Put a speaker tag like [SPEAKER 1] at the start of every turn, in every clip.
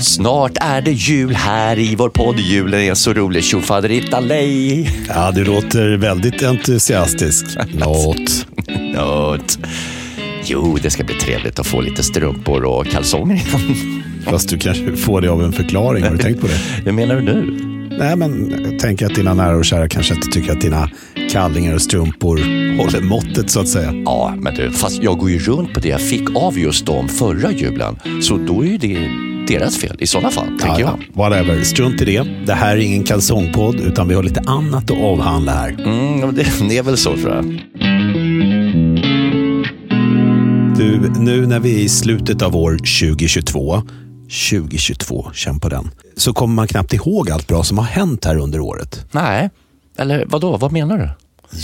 [SPEAKER 1] Snart är det jul här i vår podd. Julen är så rolig. Tjofaderittalej!
[SPEAKER 2] Ja, du låter väldigt entusiastisk. Något.
[SPEAKER 1] Nåt. Jo, det ska bli trevligt att få lite strumpor och kalsonger igen.
[SPEAKER 2] Fast du kanske får det av en förklaring. Har du tänkt på det?
[SPEAKER 1] Hur menar du nu?
[SPEAKER 2] Nej, men jag tänker att dina nära och kära kanske inte tycker att dina kallingar och strumpor håller måttet så att säga.
[SPEAKER 1] Ja, men du, fast jag går ju runt på det jag fick av just dem förra julen. Så då är ju det deras fel i sådana fall, tänker
[SPEAKER 2] Ja,
[SPEAKER 1] jag.
[SPEAKER 2] whatever, strunt i det. Det här är ingen kalsongpodd utan vi har lite annat att avhandla här.
[SPEAKER 1] Mm, ja, det, det är väl så tror jag.
[SPEAKER 2] Du, nu när vi är i slutet av år 2022, 2022, känn på den, så kommer man knappt ihåg allt bra som har hänt här under året.
[SPEAKER 1] Nej, eller vadå? Vad menar du?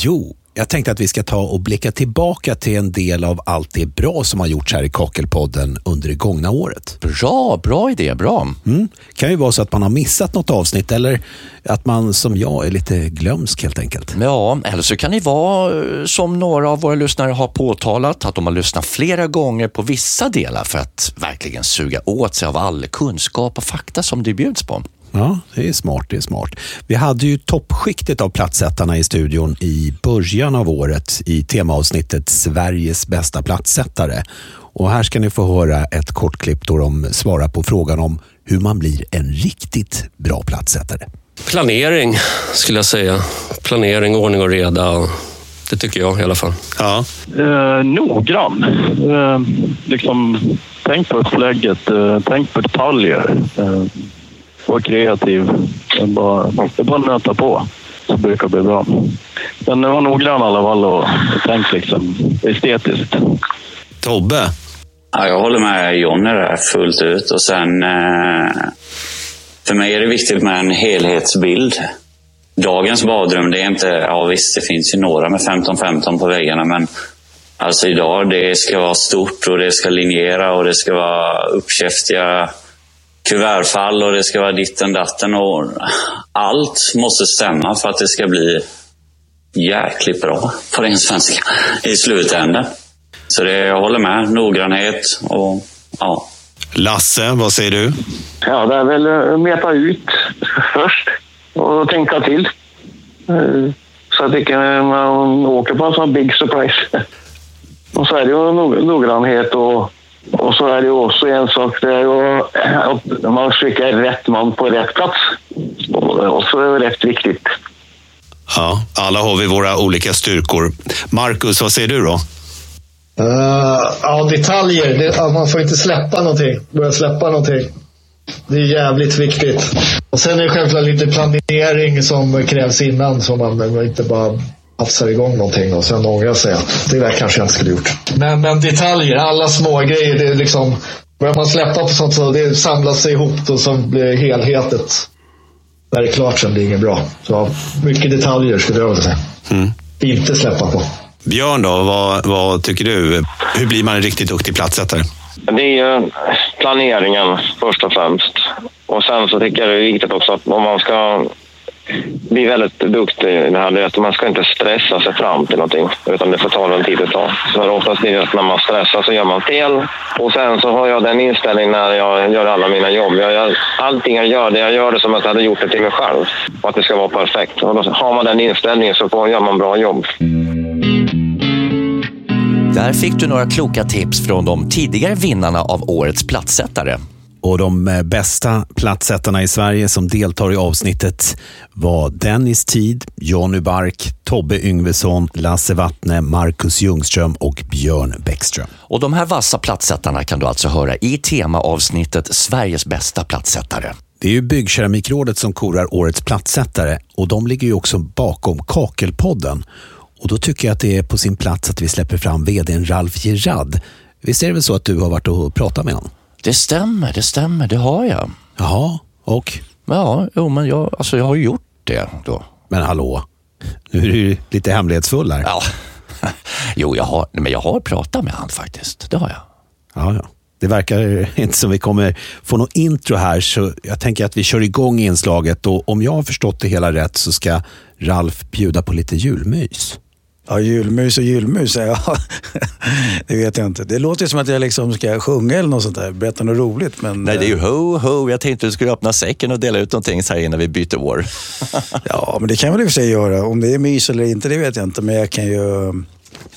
[SPEAKER 2] Jo, jag tänkte att vi ska ta och blicka tillbaka till en del av allt det bra som har gjorts här i Kakelpodden under det gångna året.
[SPEAKER 1] Bra, bra idé, bra.
[SPEAKER 2] Mm. kan ju vara så att man har missat något avsnitt eller att man som jag är lite glömsk helt enkelt.
[SPEAKER 1] Ja, eller så kan det vara eh, som några av våra lyssnare har påtalat, att de har lyssnat flera gånger på vissa delar för att verkligen suga åt sig av all kunskap och fakta som det bjuds på.
[SPEAKER 2] Ja, det är smart. det är smart. Vi hade ju toppskiktet av platsättarna i studion i början av året i temaavsnittet Sveriges bästa platsättare. Och här ska ni få höra ett kort klipp då de svarar på frågan om hur man blir en riktigt bra platsättare.
[SPEAKER 3] Planering skulle jag säga. Planering, ordning och reda. Det tycker jag i alla fall.
[SPEAKER 2] Ja.
[SPEAKER 4] Eh, noggrann. Eh, liksom, tänk på upplägget, eh, tänk på detaljer. Eh, var kreativ. Det är bara, det är bara att nöta på, så brukar det bli bra. Men var noggrann i alla fall och tänk liksom, estetiskt.
[SPEAKER 2] Tobbe?
[SPEAKER 5] Ja, jag håller med Jonny där fullt ut. Och sen, eh, för mig är det viktigt med en helhetsbild. Dagens badrum, det är inte... Ja visst, det finns ju några med 15-15 på väggarna, men alltså idag, det ska vara stort och det ska linjera och det ska vara uppkäftiga kuvertfall och det ska vara ditten datten. Och allt måste stämma för att det ska bli jäkligt bra, på ren svenska, i slutändan. Så det, jag håller med. Noggrannhet och ja.
[SPEAKER 2] Lasse, vad säger du?
[SPEAKER 6] Ja, det är väl eh, meta ut först och tänka till. Eh, Så att inte man åker på en sån big surprise. Och så är det ju nog- noggrannhet och, och så är det ju också en sak, det är ju eh, att man skickar rätt man på rätt plats. Och det är också rätt viktigt.
[SPEAKER 2] Ja, alla har vi våra olika styrkor. Marcus, vad säger du då?
[SPEAKER 7] Eh, ja, detaljer. Det, ja, man får inte släppa någonting. Börja släppa någonting. Det är jävligt viktigt. Och sen är det självklart lite planering som krävs innan så man, man inte bara hafsar igång någonting och sen ångrar sig. Det där kanske jag inte skulle gjort. Men, men detaljer, alla små grejer det är liksom... Börjar man släppa på sånt så det samlas sig ihop och så blir helhetet... När det är klart sen blir det inget bra. Så mycket detaljer skulle jag vilja säga. Inte släppa på.
[SPEAKER 2] Björn då, vad, vad tycker du? Hur blir man en riktigt duktig platsättare?
[SPEAKER 6] Det är ju planeringen först och främst. Och sen så tycker jag det är viktigt också att om man ska bli väldigt duktig i det här, det är att man ska inte stressa sig fram till någonting. Utan det får ta den tid det tar. För oftast blir det att när man stressar så gör man fel. Och sen så har jag den inställningen när jag gör alla mina jobb. Jag gör, allting jag gör, det jag gör det som att jag hade gjort det till mig själv. Och att det ska vara perfekt. Och då har man den inställningen så får, gör man bra jobb.
[SPEAKER 1] Där fick du några kloka tips från de tidigare vinnarna av årets platsättare.
[SPEAKER 2] Och de eh, bästa platsättarna i Sverige som deltar i avsnittet var Dennis Tid, Jonny Bark, Tobbe Yngvesson, Lasse Wattne, Marcus Ljungström och Björn Bäckström.
[SPEAKER 1] Och de här vassa platsättarna kan du alltså höra i temaavsnittet Sveriges bästa platsättare.
[SPEAKER 2] Det är ju Byggkeramikrådet som korar årets platsättare och de ligger ju också bakom Kakelpodden. Och då tycker jag att det är på sin plats att vi släpper fram vdn Ralf Gerard. Visst är det väl så att du har varit och pratat med honom?
[SPEAKER 1] Det stämmer, det stämmer, det har jag.
[SPEAKER 2] Jaha, och?
[SPEAKER 1] Ja, jo, men jag, alltså, jag har ju gjort det då.
[SPEAKER 2] Men hallå, nu är du ju lite hemlighetsfull här.
[SPEAKER 1] Ja. Jo, jag har, men jag har pratat med han faktiskt. Det har jag.
[SPEAKER 2] Ja, ja. Det verkar inte som vi kommer få något intro här, så jag tänker att vi kör igång inslaget och om jag har förstått det hela rätt så ska Ralf bjuda på lite julmys.
[SPEAKER 8] Ja, julmus och julmus. Ja, det vet jag inte. Det låter som att jag liksom ska sjunga eller något sånt där. Berätta något roligt. Men, eh,
[SPEAKER 1] Nej, det är ju ho, ho. Jag tänkte du skulle öppna säcken och dela ut någonting så här innan vi byter år.
[SPEAKER 8] Ja, men det kan jag väl i och för sig göra. Om det är mys eller inte, det vet jag inte. Men jag kan ju,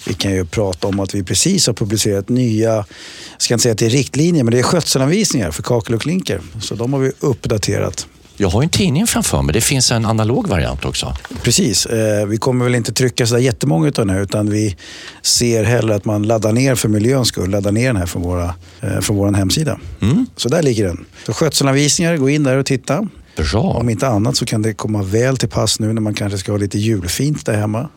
[SPEAKER 8] vi kan ju prata om att vi precis har publicerat nya, jag ska inte säga att det är riktlinjer, men det är skötselanvisningar för kakel och klinker. Så de har vi uppdaterat.
[SPEAKER 1] Jag har ju en tidning framför mig. Det finns en analog variant också.
[SPEAKER 8] Precis. Eh, vi kommer väl inte trycka så där jättemånga av den här utan vi ser hellre att man laddar ner för miljöns skull. Laddar ner den här från, våra, eh, från vår hemsida.
[SPEAKER 1] Mm.
[SPEAKER 8] Så där ligger den. Så skötselanvisningar, gå in där och titta.
[SPEAKER 1] Bra.
[SPEAKER 8] Om inte annat så kan det komma väl till pass nu när man kanske ska ha lite julfint där hemma.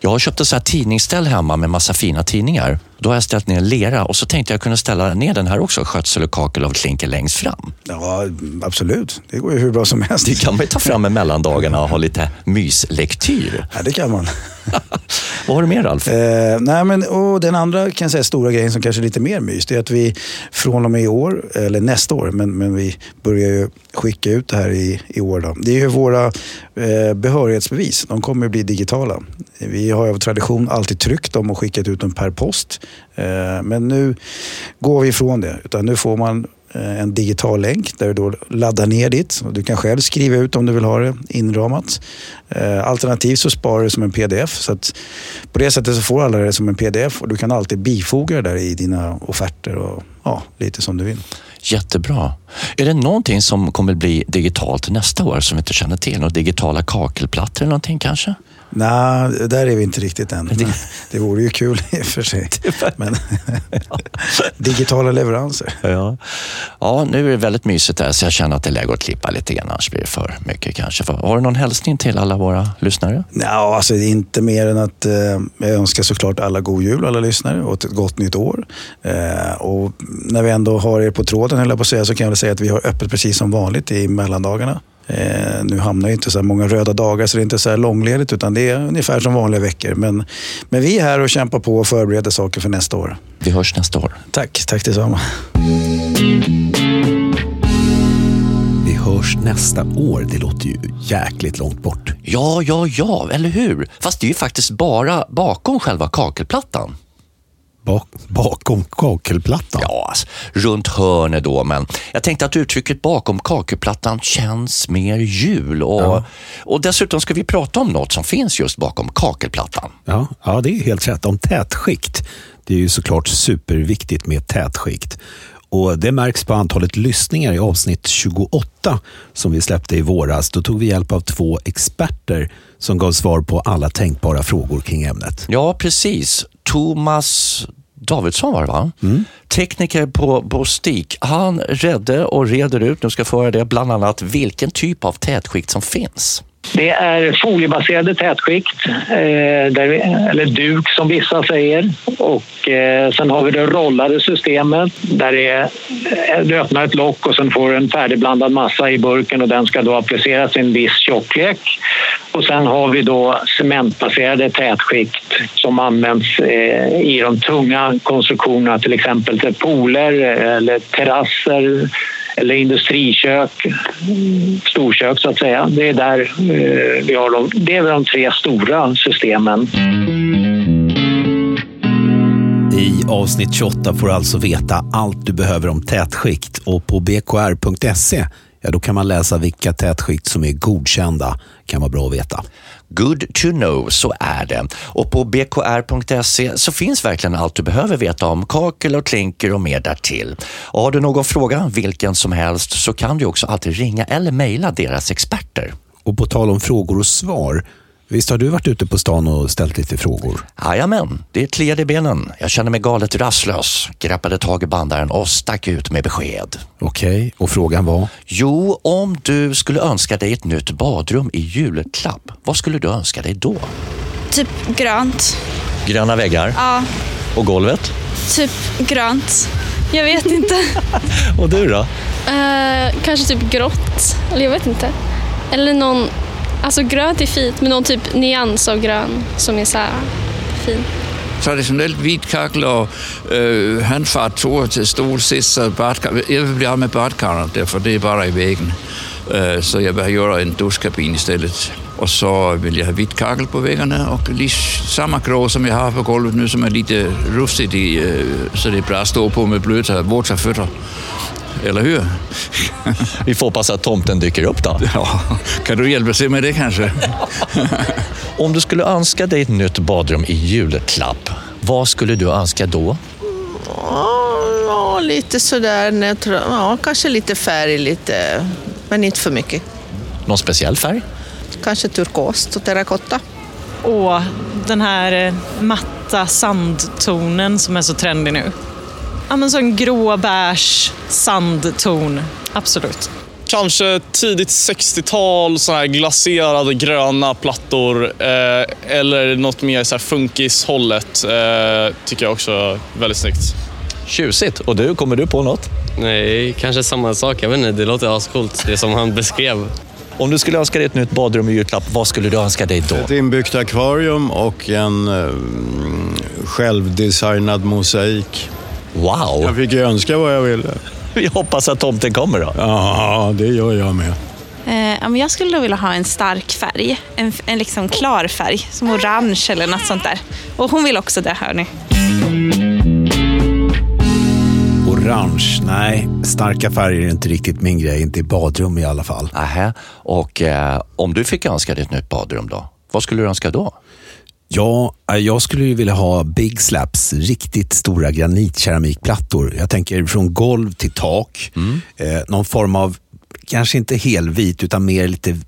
[SPEAKER 1] Jag har köpt ett så här tidningsställ hemma med massa fina tidningar. Då har jag ställt ner lera och så tänkte jag kunna ställa ner den här också, skötsel och kakel av klinker längst fram.
[SPEAKER 8] Ja, absolut. Det går ju hur bra som helst.
[SPEAKER 1] Det kan man ju ta fram i mellandagarna och ha lite myslektyr.
[SPEAKER 8] Ja, det kan man.
[SPEAKER 1] Vad har du mer Ralf?
[SPEAKER 8] Eh, nej men, och den andra kan jag säga, stora grejen som kanske är lite mer mys, det är att vi från och med i år, eller nästa år, men, men vi börjar ju skicka ut det här i, i år. Då. Det är ju våra eh, behörighetsbevis, de kommer att bli digitala. Vi har ju av tradition alltid tryckt dem och skickat ut dem per post. Eh, men nu går vi ifrån det, utan nu får man eh, en digital länk där du då laddar ner ditt. Du kan själv skriva ut om du vill ha det inramat. Eh, Alternativt så sparar du det som en pdf. Så att på det sättet så får alla det som en pdf och du kan alltid bifoga det där i dina offerter och ja, lite som du vill.
[SPEAKER 1] Jättebra. Är det någonting som kommer bli digitalt nästa år som vi inte känner till? Några digitala kakelplattor eller någonting kanske?
[SPEAKER 8] Nej, där är vi inte riktigt än. Men det vore ju kul i och för sig. Men digitala leveranser.
[SPEAKER 1] Ja. ja, nu är det väldigt mysigt där så jag känner att det är läge att klippa lite grann annars blir det för mycket kanske. För- Har du någon hälsning till alla våra lyssnare?
[SPEAKER 8] Ja, alltså det är inte mer än att eh, jag önskar såklart alla god jul alla lyssnare och ett gott nytt år. Eh, och när vi ändå har er på tråden höll jag på att säga så kan jag väl säga att vi har öppet precis som vanligt i mellandagarna. Eh, nu hamnar ju inte så här många röda dagar så det är inte så här långledigt utan det är ungefär som vanliga veckor. Men, men vi är här och kämpar på och förbereder saker för nästa år.
[SPEAKER 1] Vi hörs nästa år.
[SPEAKER 8] Tack, tack detsamma.
[SPEAKER 2] Vi hörs nästa år. Det låter ju jäkligt långt bort.
[SPEAKER 1] Ja, ja, ja, eller hur? Fast det är ju faktiskt bara bakom själva kakelplattan.
[SPEAKER 2] Bak, bakom kakelplattan.
[SPEAKER 1] Ja, alltså, runt hörnet då, men jag tänkte att uttrycket bakom kakelplattan känns mer jul. Och, och dessutom ska vi prata om något som finns just bakom kakelplattan.
[SPEAKER 2] Ja, ja, det är helt rätt. Om tätskikt. Det är ju såklart superviktigt med tätskikt. Och Det märks på antalet lyssningar i avsnitt 28 som vi släppte i våras. Då tog vi hjälp av två experter som gav svar på alla tänkbara frågor kring ämnet.
[SPEAKER 1] Ja, precis. Thomas Davidsson var det va? Tekniker på Bostik. Han redde och reder ut, nu ska jag få höra det, bland annat vilken typ av tätskikt som finns.
[SPEAKER 9] Det är foliebaserade tätskikt, eh, där vi, eller duk som vissa säger. Och eh, sen har vi det rollade systemet där det är, eh, du öppnar ett lock och sen får du en färdigblandad massa i burken och den ska då appliceras i en viss tjocklek. Och sen har vi då cementbaserade tätskikt som används eh, i de tunga konstruktionerna, till exempel till pooler eh, eller terrasser eller industrikök, mm, storkök så att säga. Det är där eh, vi har de, det är väl de tre stora systemen.
[SPEAKER 2] I avsnitt 28 får du alltså veta allt du behöver om tätskikt och på bkr.se ja, då kan man läsa vilka tätskikt som är godkända. kan vara bra att veta.
[SPEAKER 1] Good to know, så är det. Och på bkr.se så finns verkligen allt du behöver veta om kakel och klinker och mer därtill. Och har du någon fråga, vilken som helst, så kan du också alltid ringa eller mejla deras experter.
[SPEAKER 2] Och på tal om frågor och svar. Visst har du varit ute på stan och ställt lite frågor?
[SPEAKER 1] Jajamän, det kliade i benen. Jag kände mig galet rastlös, greppade tag i bandaren och stack ut med besked.
[SPEAKER 2] Okej, och frågan var?
[SPEAKER 1] Jo, om du skulle önska dig ett nytt badrum i julklapp, vad skulle du önska dig då?
[SPEAKER 10] Typ grönt.
[SPEAKER 1] Gröna väggar
[SPEAKER 10] Ja,
[SPEAKER 1] och golvet.
[SPEAKER 10] typ grönt. Jag vet inte.
[SPEAKER 1] Och du då?
[SPEAKER 11] Eh, kanske typ grått. Eller jag vet inte. Eller någon... Alltså grönt är fint, men någon typ nyans av grön som är så här fin.
[SPEAKER 12] traditionelt hvit kakkel og øh, handfart, to til stol, sisser, badkar. Jeg vil blive af med badkarret, derfor det er bare i væggen. Øh, så jeg behøver en duskabine i stedet.
[SPEAKER 13] Och så vill jag ha vitt kakel på väggarna och lis- samma krog som jag har på golvet nu som är lite
[SPEAKER 12] øh,
[SPEAKER 13] rufsigt i, eh, så det är bra att stå på med blöta, våta fötter. Eller hur?
[SPEAKER 1] Vi får hoppas att tomten dyker upp då.
[SPEAKER 13] Ja, kan du hjälpa sig med det kanske?
[SPEAKER 1] Om du skulle önska dig ett nytt badrum i julklapp, vad skulle du önska då?
[SPEAKER 14] Ja, lite sådär. neutral- Ja, kanske lite färg, lite, men inte för mycket.
[SPEAKER 1] Någon speciell färg?
[SPEAKER 14] Kanske turkost och terrakotta.
[SPEAKER 15] Och den här eh, matta sandtonen som är så trendig nu. Ja, men så en grå beige sandton. Absolut.
[SPEAKER 16] Kanske tidigt 60-tal, såna här glaserade gröna plattor. Eh, eller något mer så här funkishållet. Eh, tycker jag också är väldigt snyggt.
[SPEAKER 1] Tjusigt. Och du, kommer du på något?
[SPEAKER 17] Nej, kanske samma sak. Jag vet inte, det låter ascoolt det som han beskrev.
[SPEAKER 1] Om du skulle önska dig ett nytt badrum i julklapp, vad skulle du önska dig då?
[SPEAKER 7] Ett inbyggt akvarium och en mm, självdesignad mosaik.
[SPEAKER 1] Wow!
[SPEAKER 7] Jag fick ju önska vad jag ville.
[SPEAKER 1] Vi hoppas att tomten kommer då.
[SPEAKER 7] Ja, det gör jag med.
[SPEAKER 18] Eh, ja, men jag skulle då vilja ha en stark färg. En, f- en liksom klar färg, som orange eller något sånt där. Och hon vill också det, hör ni.
[SPEAKER 2] Orange, nej. Starka färger är inte riktigt min grej, inte i badrum i alla fall.
[SPEAKER 1] Aha. Och eh, om du fick önska dig ett nytt badrum då, vad skulle du önska då?
[SPEAKER 2] Ja, eh, jag skulle ju vilja ha Big Slaps, riktigt stora granitkeramikplattor. Jag tänker från golv till tak. Eh, någon form av, kanske inte helvit, utan mer lite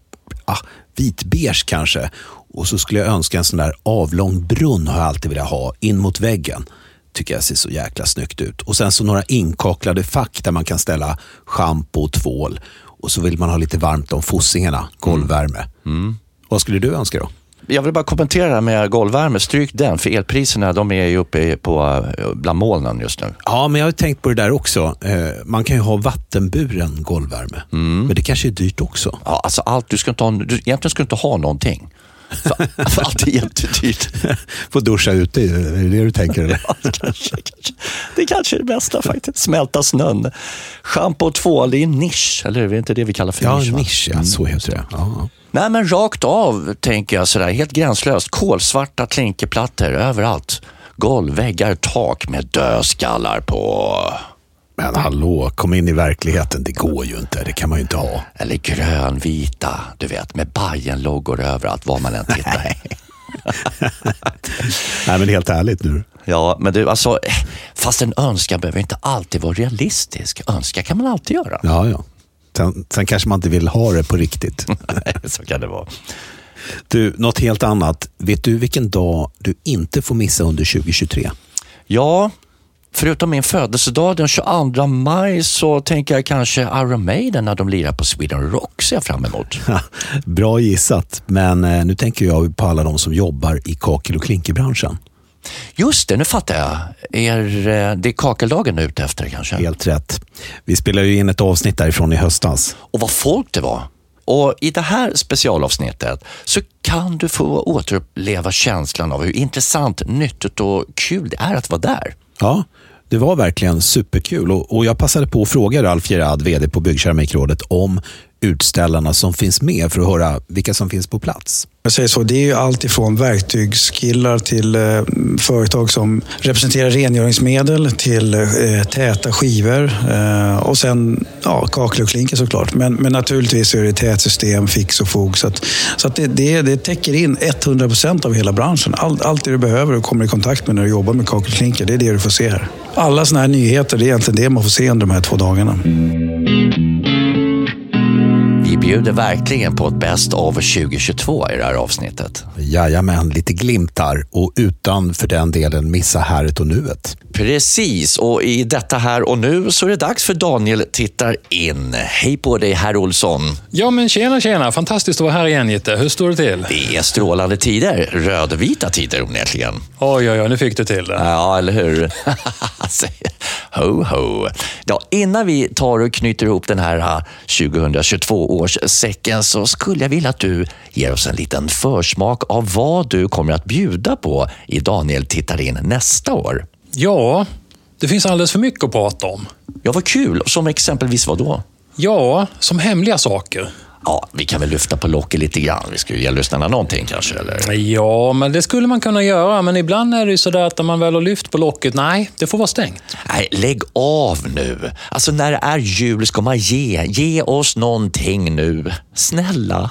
[SPEAKER 2] ah, vitbeige kanske. Och så skulle jag önska en sån där avlång brunn har jag alltid velat ha, in mot väggen. Tycker jag ser så jäkla snyggt ut. Och sen så några inkaklade fack där man kan ställa schampo och tvål. Och så vill man ha lite varmt om fossingarna, golvvärme. Vad skulle du önska då?
[SPEAKER 1] Jag vill bara kommentera det här med golvvärme. Stryk den, för elpriserna de är ju uppe i- på, eh, bland molnen just nu.
[SPEAKER 2] Ja, men jag har tänkt på det där också. Eh, Man kan ju ha vattenburen golvvärme.
[SPEAKER 1] Mm.
[SPEAKER 2] Men det kanske är dyrt också.
[SPEAKER 1] Ja, alltså allt, du ska inte ha, du, egentligen ska du inte ha någonting. För, för allt är jättedyrt.
[SPEAKER 2] Få duscha ute, är det det du tänker? Eller?
[SPEAKER 1] Det kanske är det bästa faktiskt. Smälta snön. Schampo och tvål, det är en nisch, eller hur? Det är inte det vi kallar för
[SPEAKER 2] Ja,
[SPEAKER 1] nisch? va? Mm.
[SPEAKER 2] nisch, ja, så heter det. Ja.
[SPEAKER 1] Nej, men rakt av tänker jag sådär, helt gränslöst. Kolsvarta klinkerplattor överallt. Golv, väggar, tak med dödskallar på.
[SPEAKER 2] Men hallå, kom in i verkligheten. Det går ju inte. Det kan man ju inte ha.
[SPEAKER 1] Eller grönvita, du vet, med Bajenloggor överallt, var man än tittar.
[SPEAKER 2] Nej, men helt ärligt nu.
[SPEAKER 1] Ja, men du, alltså, eh, fast en önskan behöver inte alltid vara realistisk. Önska kan man alltid göra.
[SPEAKER 2] Ja, ja. Sen, sen kanske man inte vill ha det på riktigt.
[SPEAKER 1] Nej, så kan det vara.
[SPEAKER 2] Du, något helt annat. Vet du vilken dag du inte får missa under 2023?
[SPEAKER 1] Ja, förutom min födelsedag den 22 maj så tänker jag kanske Iron Maiden när de lirar på Sweden Rock ser jag fram emot.
[SPEAKER 2] Bra gissat, men eh, nu tänker jag på alla de som jobbar i kakel och klinkerbranschen.
[SPEAKER 1] Just det, nu fattar jag. Er, eh, det är kakeldagen du är ute efter kanske?
[SPEAKER 2] Helt rätt. Vi spelade ju in ett avsnitt därifrån i höstas.
[SPEAKER 1] Och vad folk det var. Och I det här specialavsnittet så kan du få återuppleva känslan av hur intressant, nyttigt och kul det är att vara där.
[SPEAKER 2] Ja, det var verkligen superkul och, och jag passade på att fråga Ralf Gerhard, VD på Byggkeramikrådet, om utställarna som finns med för att höra vilka som finns på plats.
[SPEAKER 8] Jag säger så, det är ju allt ifrån verktygskillar till eh, företag som representerar rengöringsmedel till eh, täta skivor eh, och sen ja, kakel och klinker såklart. Men, men naturligtvis så är det tätsystem, fix och fog. Så, att, så att det, det, det täcker in 100% av hela branschen. Allt, allt det du behöver och kommer i kontakt med när du jobbar med kakel och klinker, det är det du får se här. Alla sådana här nyheter, det är egentligen det man får se under de här två dagarna.
[SPEAKER 1] Vi bjuder verkligen på ett Best of 2022 i det här avsnittet.
[SPEAKER 2] Jajamän, lite glimtar och utan för den delen missa häret och nuet.
[SPEAKER 1] Precis, och i detta här och nu så är det dags för Daniel tittar in. Hej på dig herr Olsson.
[SPEAKER 19] Ja, men tjena, tjena. Fantastiskt att vara här igen, Jitte. Hur står det till?
[SPEAKER 1] Det är strålande tider, rödvita tider onekligen.
[SPEAKER 19] Oj, oj, oj, nu fick du till det.
[SPEAKER 1] Ja, eller hur? Säger- ho, ho. Ja, innan vi tar och knyter ihop den här ah, 2022 års säcken så skulle jag vilja att du ger oss en liten försmak av vad du kommer att bjuda på i Daniel tittar in nästa år.
[SPEAKER 19] Ja, det finns alldeles för mycket att prata om.
[SPEAKER 1] Ja, vad kul. Som exempelvis vad då?
[SPEAKER 19] Ja, som hemliga saker.
[SPEAKER 1] Ja, vi kan väl lyfta på locket lite grann. Vi ska ju ge lyssnarna någonting kanske, eller?
[SPEAKER 19] Ja, men det skulle man kunna göra. Men ibland är det ju sådär att när man väl har lyft på locket, nej, det får vara stängt.
[SPEAKER 1] Nej, lägg av nu. Alltså, när det är jul ska man ge. Ge oss någonting nu. Snälla.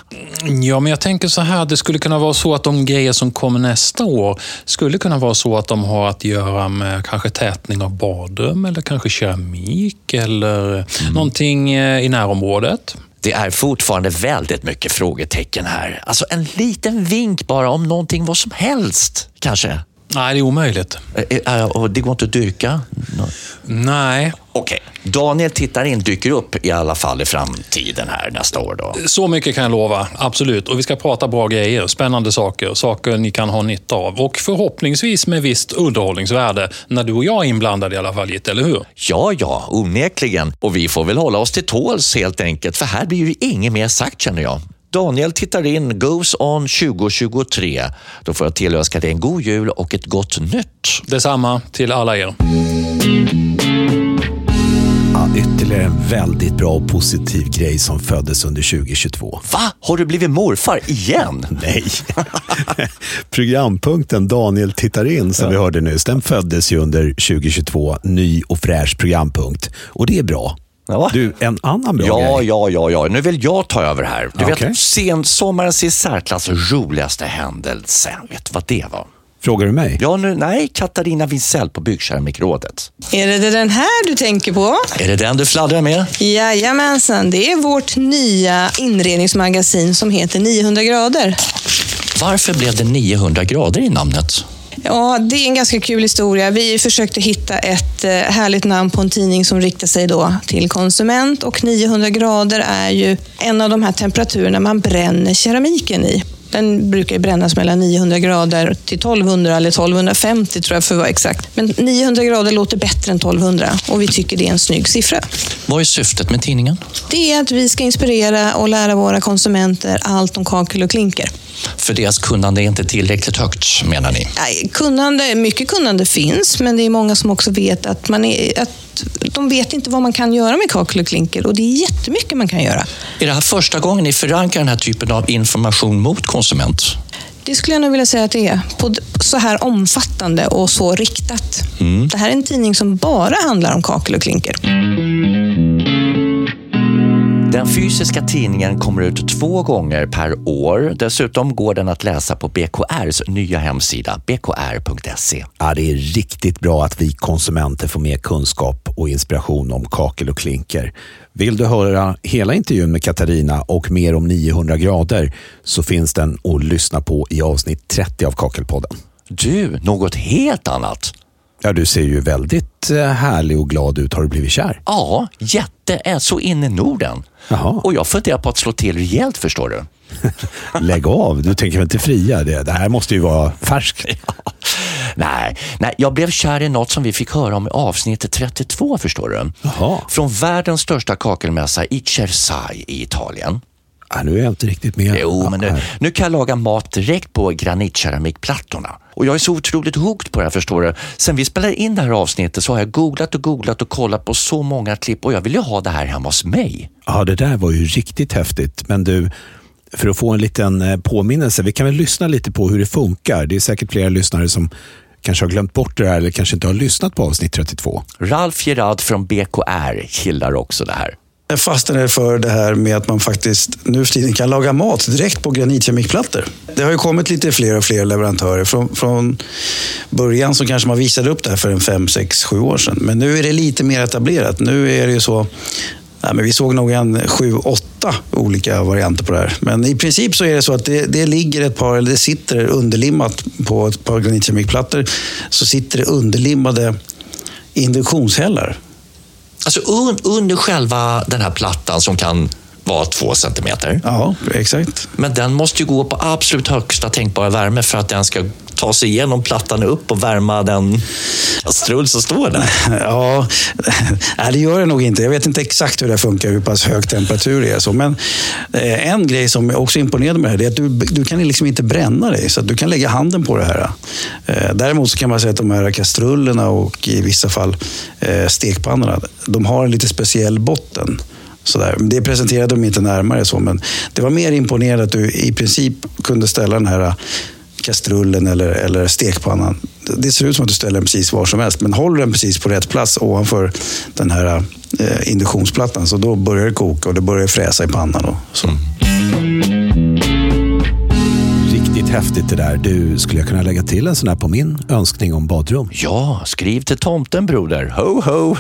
[SPEAKER 19] Ja, men jag tänker så här. Det skulle kunna vara så att de grejer som kommer nästa år skulle kunna vara så att de har att göra med kanske tätning av badrum eller kanske keramik eller någonting eh, i närområdet.
[SPEAKER 1] Det är fortfarande väldigt mycket frågetecken här. Alltså, en liten vink bara om någonting, vad som helst, kanske. Eh,
[SPEAKER 19] Nej, det är omöjligt.
[SPEAKER 1] Och det går inte att dyrka?
[SPEAKER 19] Nej.
[SPEAKER 1] Okej. Daniel tittar in, dyker upp i alla fall i framtiden här nästa år då.
[SPEAKER 19] Så mycket kan jag lova, absolut. Och vi ska prata bra grejer, spännande saker, saker ni kan ha nytta av. Och förhoppningsvis med visst underhållningsvärde, när du och jag är inblandade i alla fall, Gitte, eller hur?
[SPEAKER 1] Ja, ja, onekligen. Och vi får väl hålla oss till tåls helt enkelt, för här blir ju inget mer sagt känner jag. Daniel tittar in Goes On 2023. Då får jag tillönska dig en god jul och ett gott nytt.
[SPEAKER 19] Detsamma till alla er.
[SPEAKER 2] Ja, ytterligare en väldigt bra och positiv grej som föddes under 2022.
[SPEAKER 1] Va? Har du blivit morfar igen?
[SPEAKER 2] Nej. Programpunkten Daniel tittar in, som vi hörde nyss, den föddes ju under 2022. Ny och fräsch programpunkt. Och det är bra. Du, en annan bra
[SPEAKER 1] Ja,
[SPEAKER 2] grej.
[SPEAKER 1] ja, ja, ja. Nu vill jag ta över här. Du
[SPEAKER 2] Okej.
[SPEAKER 1] vet, sensommarens i särklass roligaste händelse. Vet du vad det var?
[SPEAKER 2] Frågar du mig?
[SPEAKER 1] Ja, nu, nej, Katarina Winsell på Byggkeramikrådet.
[SPEAKER 15] Är det den här du tänker på?
[SPEAKER 1] Är det den du fladdrar med?
[SPEAKER 15] Jajamensan, det är vårt nya inredningsmagasin som heter 900 grader.
[SPEAKER 1] Varför blev det 900 grader i namnet?
[SPEAKER 15] Ja, det är en ganska kul historia. Vi försökte hitta ett eh, härligt namn på en tidning som riktar sig då till konsument och 900 grader är ju en av de här temperaturerna man bränner keramiken i. Den brukar ju brännas mellan 900 grader till 1200 eller 1250 tror jag för att vara exakt. Men 900 grader låter bättre än 1200 och vi tycker det är en snygg siffra.
[SPEAKER 1] Vad är syftet med tidningen?
[SPEAKER 15] Det är att vi ska inspirera och lära våra konsumenter allt om kakel och klinker.
[SPEAKER 1] För deras kunnande är inte tillräckligt högt, menar ni?
[SPEAKER 15] Nej, Kunnande, mycket kunnande finns, men det är många som också vet att, man är, att de vet inte vad man kan göra med kakel och klinker och det är jättemycket man kan göra.
[SPEAKER 1] Är det här första gången ni förankrar den här typen av information mot konsument?
[SPEAKER 15] Det skulle jag nog vilja säga att det är, på d- så här omfattande och så riktat.
[SPEAKER 8] Mm.
[SPEAKER 15] Det här är en tidning som bara handlar om kakel och klinker.
[SPEAKER 1] Den fysiska tidningen kommer ut två gånger per år. Dessutom går den att läsa på BKRs nya hemsida, bkr.se.
[SPEAKER 2] Ja, det är riktigt bra att vi konsumenter får mer kunskap och inspiration om kakel och klinker. Vill du höra hela intervjun med Katarina och mer om 900 grader så finns den att lyssna på i avsnitt 30 av Kakelpodden.
[SPEAKER 1] Du, något helt annat.
[SPEAKER 2] Ja, du ser ju väldigt eh, härlig och glad ut. Har du blivit kär?
[SPEAKER 1] Ja, jätte är så in i Norden. Och jag funderar på att slå till rejält, förstår du.
[SPEAKER 2] Lägg av, du tänker väl inte fria? Det, det här måste ju vara färskt.
[SPEAKER 1] Nej, nej, jag blev kär i något som vi fick höra om i avsnitt 32, förstår du. Från världens största kakelmässa i Cersai i Italien.
[SPEAKER 2] Ja, nu är jag inte riktigt med.
[SPEAKER 1] Jo, men nu, nu kan jag laga mat direkt på granitkeramikplattorna. Och jag är så otroligt hooked på det här förstår du. Sen vi spelade in det här avsnittet så har jag googlat och googlat och kollat på så många klipp och jag vill ju ha det här hemma hos mig.
[SPEAKER 2] Ja, det där var ju riktigt häftigt. Men du, för att få en liten eh, påminnelse, vi kan väl lyssna lite på hur det funkar. Det är säkert flera lyssnare som kanske har glömt bort det här eller kanske inte har lyssnat på avsnitt 32.
[SPEAKER 1] Ralf Gerard från BKR gillar också det här.
[SPEAKER 8] Jag fastnade för det här med att man faktiskt nu för tiden kan laga mat direkt på granitkemikplattor. Det har ju kommit lite fler och fler leverantörer. Från, från början så kanske man visade upp det här för en fem, sex, sju år sedan. Men nu är det lite mer etablerat. Nu är det ju så Nej, men vi såg nog en sju, åtta olika varianter på det här. Men i princip så är det så att det, det ligger ett par, eller det sitter underlimmat på ett par granitkemikplattor. Så sitter det underlimmade induktionshällar.
[SPEAKER 1] Alltså un, under själva den här plattan som kan vara två centimeter.
[SPEAKER 8] Ja, exakt.
[SPEAKER 1] Men den måste ju gå på absolut högsta tänkbara värme för att den ska ta sig igenom plattan upp och värma den kastrull som står där.
[SPEAKER 8] Ja, nej, det gör det nog inte. Jag vet inte exakt hur det funkar, hur pass hög temperatur det är. Så. Men eh, en grej som jag också imponerade med det här det är att du, du kan liksom inte bränna dig. Så att du kan lägga handen på det här. Eh, däremot så kan man säga att de här kastrullerna och i vissa fall eh, stekpannorna, de har en lite speciell botten.
[SPEAKER 20] Sådär. Det presenterade de inte närmare så, men det var mer imponerande att du i princip kunde ställa den här kastrullen eller, eller stekpannan. Det ser ut som att du ställer den precis var som helst, men håller den precis på rätt plats ovanför den här eh, induktionsplattan, så då börjar det koka och det börjar fräsa i pannan. Och så.
[SPEAKER 2] Riktigt häftigt det där. Du, skulle jag kunna lägga till en sån här på min önskning om badrum?
[SPEAKER 1] Ja, skriv till tomten broder. Ho ho!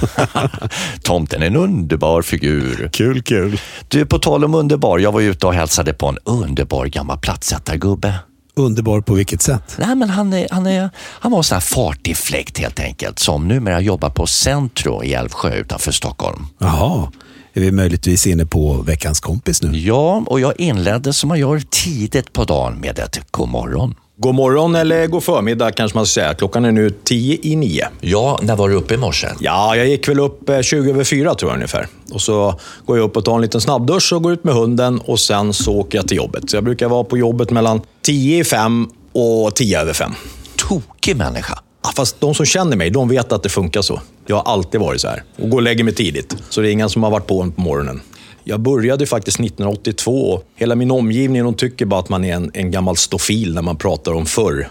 [SPEAKER 1] tomten är en underbar figur.
[SPEAKER 21] Kul, kul.
[SPEAKER 1] Du, på tal om underbar. Jag var ute och hälsade på en underbar gammal plattsättargubbe.
[SPEAKER 2] Underbar på vilket sätt?
[SPEAKER 1] Nej, men han, är, han, är, han var en sån här fartig fläkt helt enkelt som numera jobbar på Centro i Älvsjö utanför Stockholm.
[SPEAKER 2] Jaha, är vi möjligtvis inne på veckans kompis nu?
[SPEAKER 1] Ja, och jag inledde som man gör tidigt på dagen med ett god morgon.
[SPEAKER 8] God morgon eller god förmiddag kanske man ska säga. Klockan är nu tio i nio.
[SPEAKER 1] Ja, när var du uppe i morse?
[SPEAKER 8] Ja, jag gick väl upp eh, 20 över fyra tror jag ungefär. Och så går jag upp och tar en liten snabbdusch och går ut med hunden och sen så åker jag till jobbet. Så jag brukar vara på jobbet mellan tio i fem och tio över fem.
[SPEAKER 1] Tokig människa.
[SPEAKER 8] Ja, fast de som känner mig, de vet att det funkar så. Jag har alltid varit så här. Och går och lägger mig tidigt. Så det är ingen som har varit på en på morgonen. Jag började ju faktiskt 1982. Hela min omgivning de tycker bara att man är en, en gammal stofil när man pratar om förr.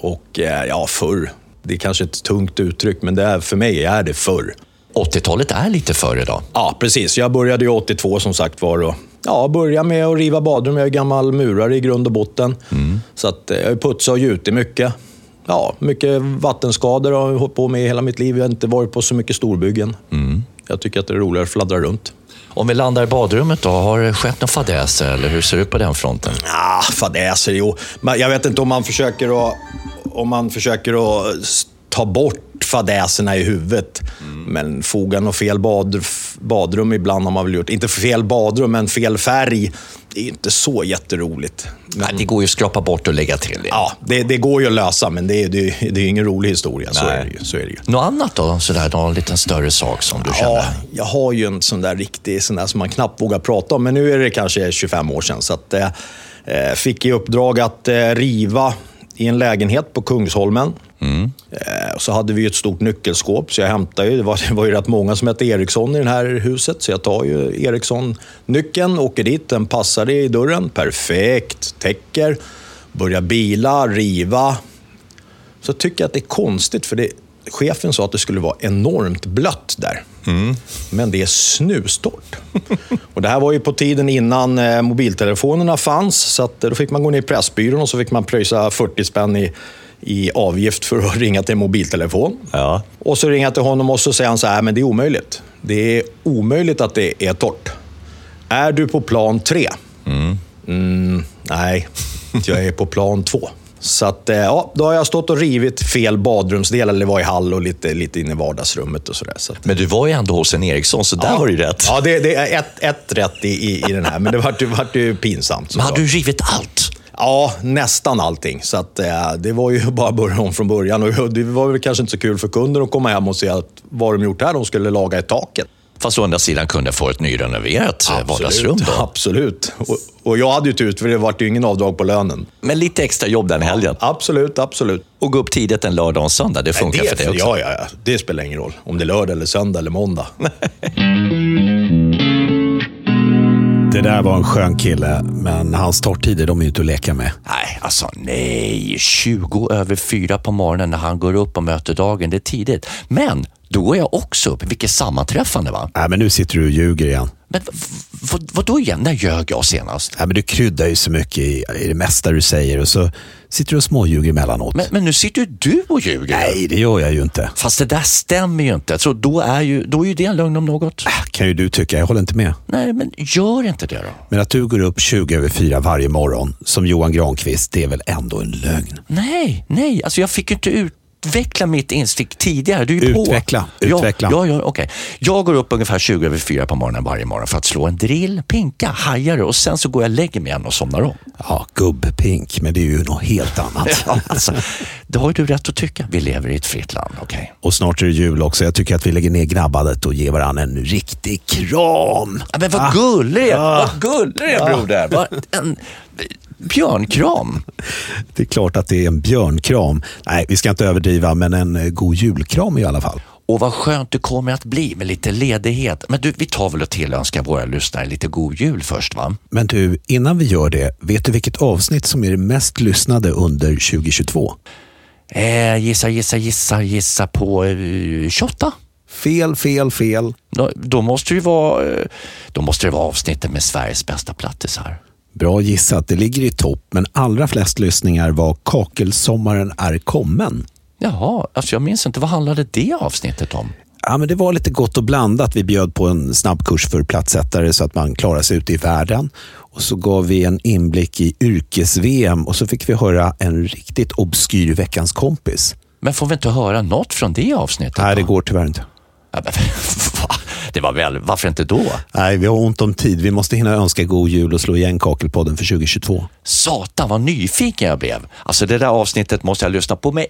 [SPEAKER 8] Och eh, ja, förr. Det är kanske ett tungt uttryck, men det är, för mig är det förr.
[SPEAKER 1] 80-talet är lite förr idag.
[SPEAKER 8] Ja, precis. Jag började ju 82 som sagt var. Och, ja, började med att riva badrum. Jag är gammal murare i grund och botten. Så att, eh, jag har putsat och gjutit mycket. Ja, mycket vattenskador har jag hållit på med i hela mitt liv. Jag har inte varit på så mycket storbyggen. Jag tycker att det är roligare att fladdra runt.
[SPEAKER 1] Om vi landar i badrummet då, har det skett någon fadäser eller hur ser det ut på den fronten?
[SPEAKER 8] Ah, fadäser, jo. Men jag vet inte om man försöker att, om man försöker att s- ta bort fadäserna i huvudet. Men foga något fel bad, f- badrum ibland har man väl gjort. Inte fel badrum, men fel färg. Det är inte så jätteroligt. Men,
[SPEAKER 1] Det går ju att skrapa bort och lägga till.
[SPEAKER 8] ja, det, det går ju att lösa, men det är, det är, det är ingen rolig historia. Så är, det ju, så är det ju.
[SPEAKER 1] Något annat då? Sådär, någon liten större sak som du känner?
[SPEAKER 8] Ja, jag har ju en sån där riktig, sån där som man knappt vågar prata om, men nu är det kanske 25 år sedan. Så att, eh, eh, fick i uppdrag att eh, riva i en lägenhet på Kungsholmen. Eh, och så hade vi ju ett stort nyckelskåp, så jag hämtade ju, det var, det var ju rätt många som hette Eriksson i det här huset, så jag tar ju Eriksson-nyckeln, åker dit, den passade i dörren, perfekt, täcker, börjar bila, riva. Så tycker jag att det är konstigt, för det, chefen sa att det skulle vara enormt blött där. Men det är snustort. och det här var ju på tiden innan eh, mobiltelefonerna fanns, så att, eh, då fick man gå ner i Pressbyrån och så fick man pröjsa 40 spänn i, i avgift för att ringa till en mobiltelefon. Och så ringer jag till honom och så säger han så här, men det är omöjligt. Det är omöjligt att det är torrt. Är du på plan tre? Mm, nej, jag är på plan två. Så att, eh, ja, då har jag stått och rivit fel badrumsdel, eller det var i hall och lite, lite inne i vardagsrummet och sådär. Så att,
[SPEAKER 1] Men du var ju ändå hos en Eriksson, så där var det ju rätt.
[SPEAKER 8] Ja, det, det är ett, ett rätt i, i, i den här, men det vart ju, vart ju pinsamt.
[SPEAKER 1] Men hade
[SPEAKER 8] såklart.
[SPEAKER 1] du rivit allt?
[SPEAKER 8] Ja, nästan allting. Så att, eh, det var ju bara att börja om från början. Och det var väl kanske inte så kul för kunden att komma hem och se att, vad de gjort här. De skulle laga i taket.
[SPEAKER 1] Fast å andra sidan kunde få ett nyrenoverat eh, vardagsrum då.
[SPEAKER 8] Absolut. Och, och jag hade ju tur, för det vart ju ingen avdrag på lönen.
[SPEAKER 1] Men lite extra jobb den helgen.
[SPEAKER 8] Absolut, absolut.
[SPEAKER 1] Och gå upp tidigt en lördag och en söndag, det funkar
[SPEAKER 8] det,
[SPEAKER 1] för dig också?
[SPEAKER 8] Ja, ja, ja. Det spelar ingen roll om det är lördag, eller söndag eller måndag.
[SPEAKER 2] Det där var en skön kille, men hans starttider de är ju inte att leka med.
[SPEAKER 1] Nej, alltså nej. 20 över fyra på morgonen när han går upp och möter dagen, det är tidigt. Men då går jag också upp, vilket sammanträffande va?
[SPEAKER 2] Nej, Äh, men nu sitter du och ljuger igen.
[SPEAKER 1] Men v- v- vad då igen? När ljög jag senast?
[SPEAKER 2] Nej, men du kryddar ju så mycket i, i det mesta du säger och så sitter du och småljuger emellanåt.
[SPEAKER 1] Men, men nu sitter ju du och ljuger.
[SPEAKER 2] Nej, det gör jag ju inte.
[SPEAKER 1] Fast det där stämmer ju inte. Så då är ju, då är ju det en lögn om något.
[SPEAKER 2] Äh, Kan ju du tycka, jag håller inte med.
[SPEAKER 1] Nej, men gör inte det då.
[SPEAKER 2] Men att du går upp 20 över fyra varje morgon som Johan Granqvist, det är väl ändå en lögn?
[SPEAKER 1] Nej, nej. Alltså jag fick ju inte utveckla mitt instinkt tidigare. Du är ju
[SPEAKER 2] Utveckla,
[SPEAKER 1] på.
[SPEAKER 2] utveckla.
[SPEAKER 1] Ja, ja, ja, okej. Jag går upp ungefär 20 över fyra på morgonen varje morgon för att slå en drill, pinka, haja det och sen så går jag och lägger mig igen och somnar om.
[SPEAKER 2] Ja, gubbpink, men det är ju något helt annat.
[SPEAKER 1] Alltså, det har ju du rätt att tycka. Vi lever i ett fritt land, okej?
[SPEAKER 2] Och snart är det jul också. Jag tycker att vi lägger ner grabbandet och ger varandra en riktig kram.
[SPEAKER 1] Ja, Men vad gullig
[SPEAKER 2] Ah.
[SPEAKER 1] ja. vad gullig är broder. Vad, en björnkram.
[SPEAKER 2] Det är klart att det är en björnkram. Nej, vi ska inte överdriva, men en eh, god julkram i alla fall.
[SPEAKER 1] Och vad skönt det kommer att bli med lite ledighet. Men du, vi tar väl och tillönskar våra lyssnare lite god jul först va?
[SPEAKER 2] Men du, innan vi gör det, vet du vilket avsnitt som är det mest lyssnade under 2022?
[SPEAKER 1] Eh, gissa, gissa, gissa, gissa på eh, 28?
[SPEAKER 2] Fel, fel, fel.
[SPEAKER 1] Då, då, måste det ju vara, eh, då måste det vara avsnittet med Sveriges bästa plattisar.
[SPEAKER 2] Bra gissat, det ligger i topp, men allra flest lyssningar var Kakelsommaren är kommen.
[SPEAKER 1] Jaha, alltså jag minns inte. Vad handlade det avsnittet om?
[SPEAKER 2] Ja, men det var lite gott och blandat. Vi bjöd på en snabbkurs för plattsättare så att man klarar sig ute i världen. Och så gav vi en inblick i yrkes-VM och så fick vi höra en riktigt obskyr Veckans kompis.
[SPEAKER 1] Men får vi inte höra något från det avsnittet?
[SPEAKER 2] Nej, det går tyvärr inte.
[SPEAKER 1] Ja, men, va? Det var väl, varför inte då?
[SPEAKER 2] Nej, vi har ont om tid. Vi måste hinna önska god jul och slå igen Kakelpodden för 2022.
[SPEAKER 1] Satan vad nyfiken jag blev. Alltså det där avsnittet måste jag lyssna på med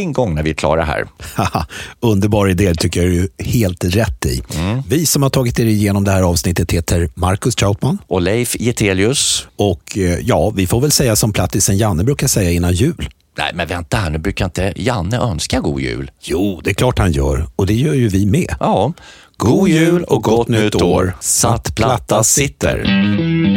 [SPEAKER 1] en gång när vi är klara här.
[SPEAKER 2] Haha, Underbar idé, tycker jag du är helt rätt i. Mm. Vi som har tagit er igenom det här avsnittet heter Marcus Trautman.
[SPEAKER 1] Och Leif Getelius.
[SPEAKER 2] Och eh, ja, vi får väl säga som plattisen Janne brukar säga innan jul.
[SPEAKER 1] Nej, men vänta här nu. Brukar inte Janne önska god jul?
[SPEAKER 2] Jo, det är klart han gör. Och det gör ju vi med.
[SPEAKER 1] Ja. God jul och gott nytt år. Satt platta sitter.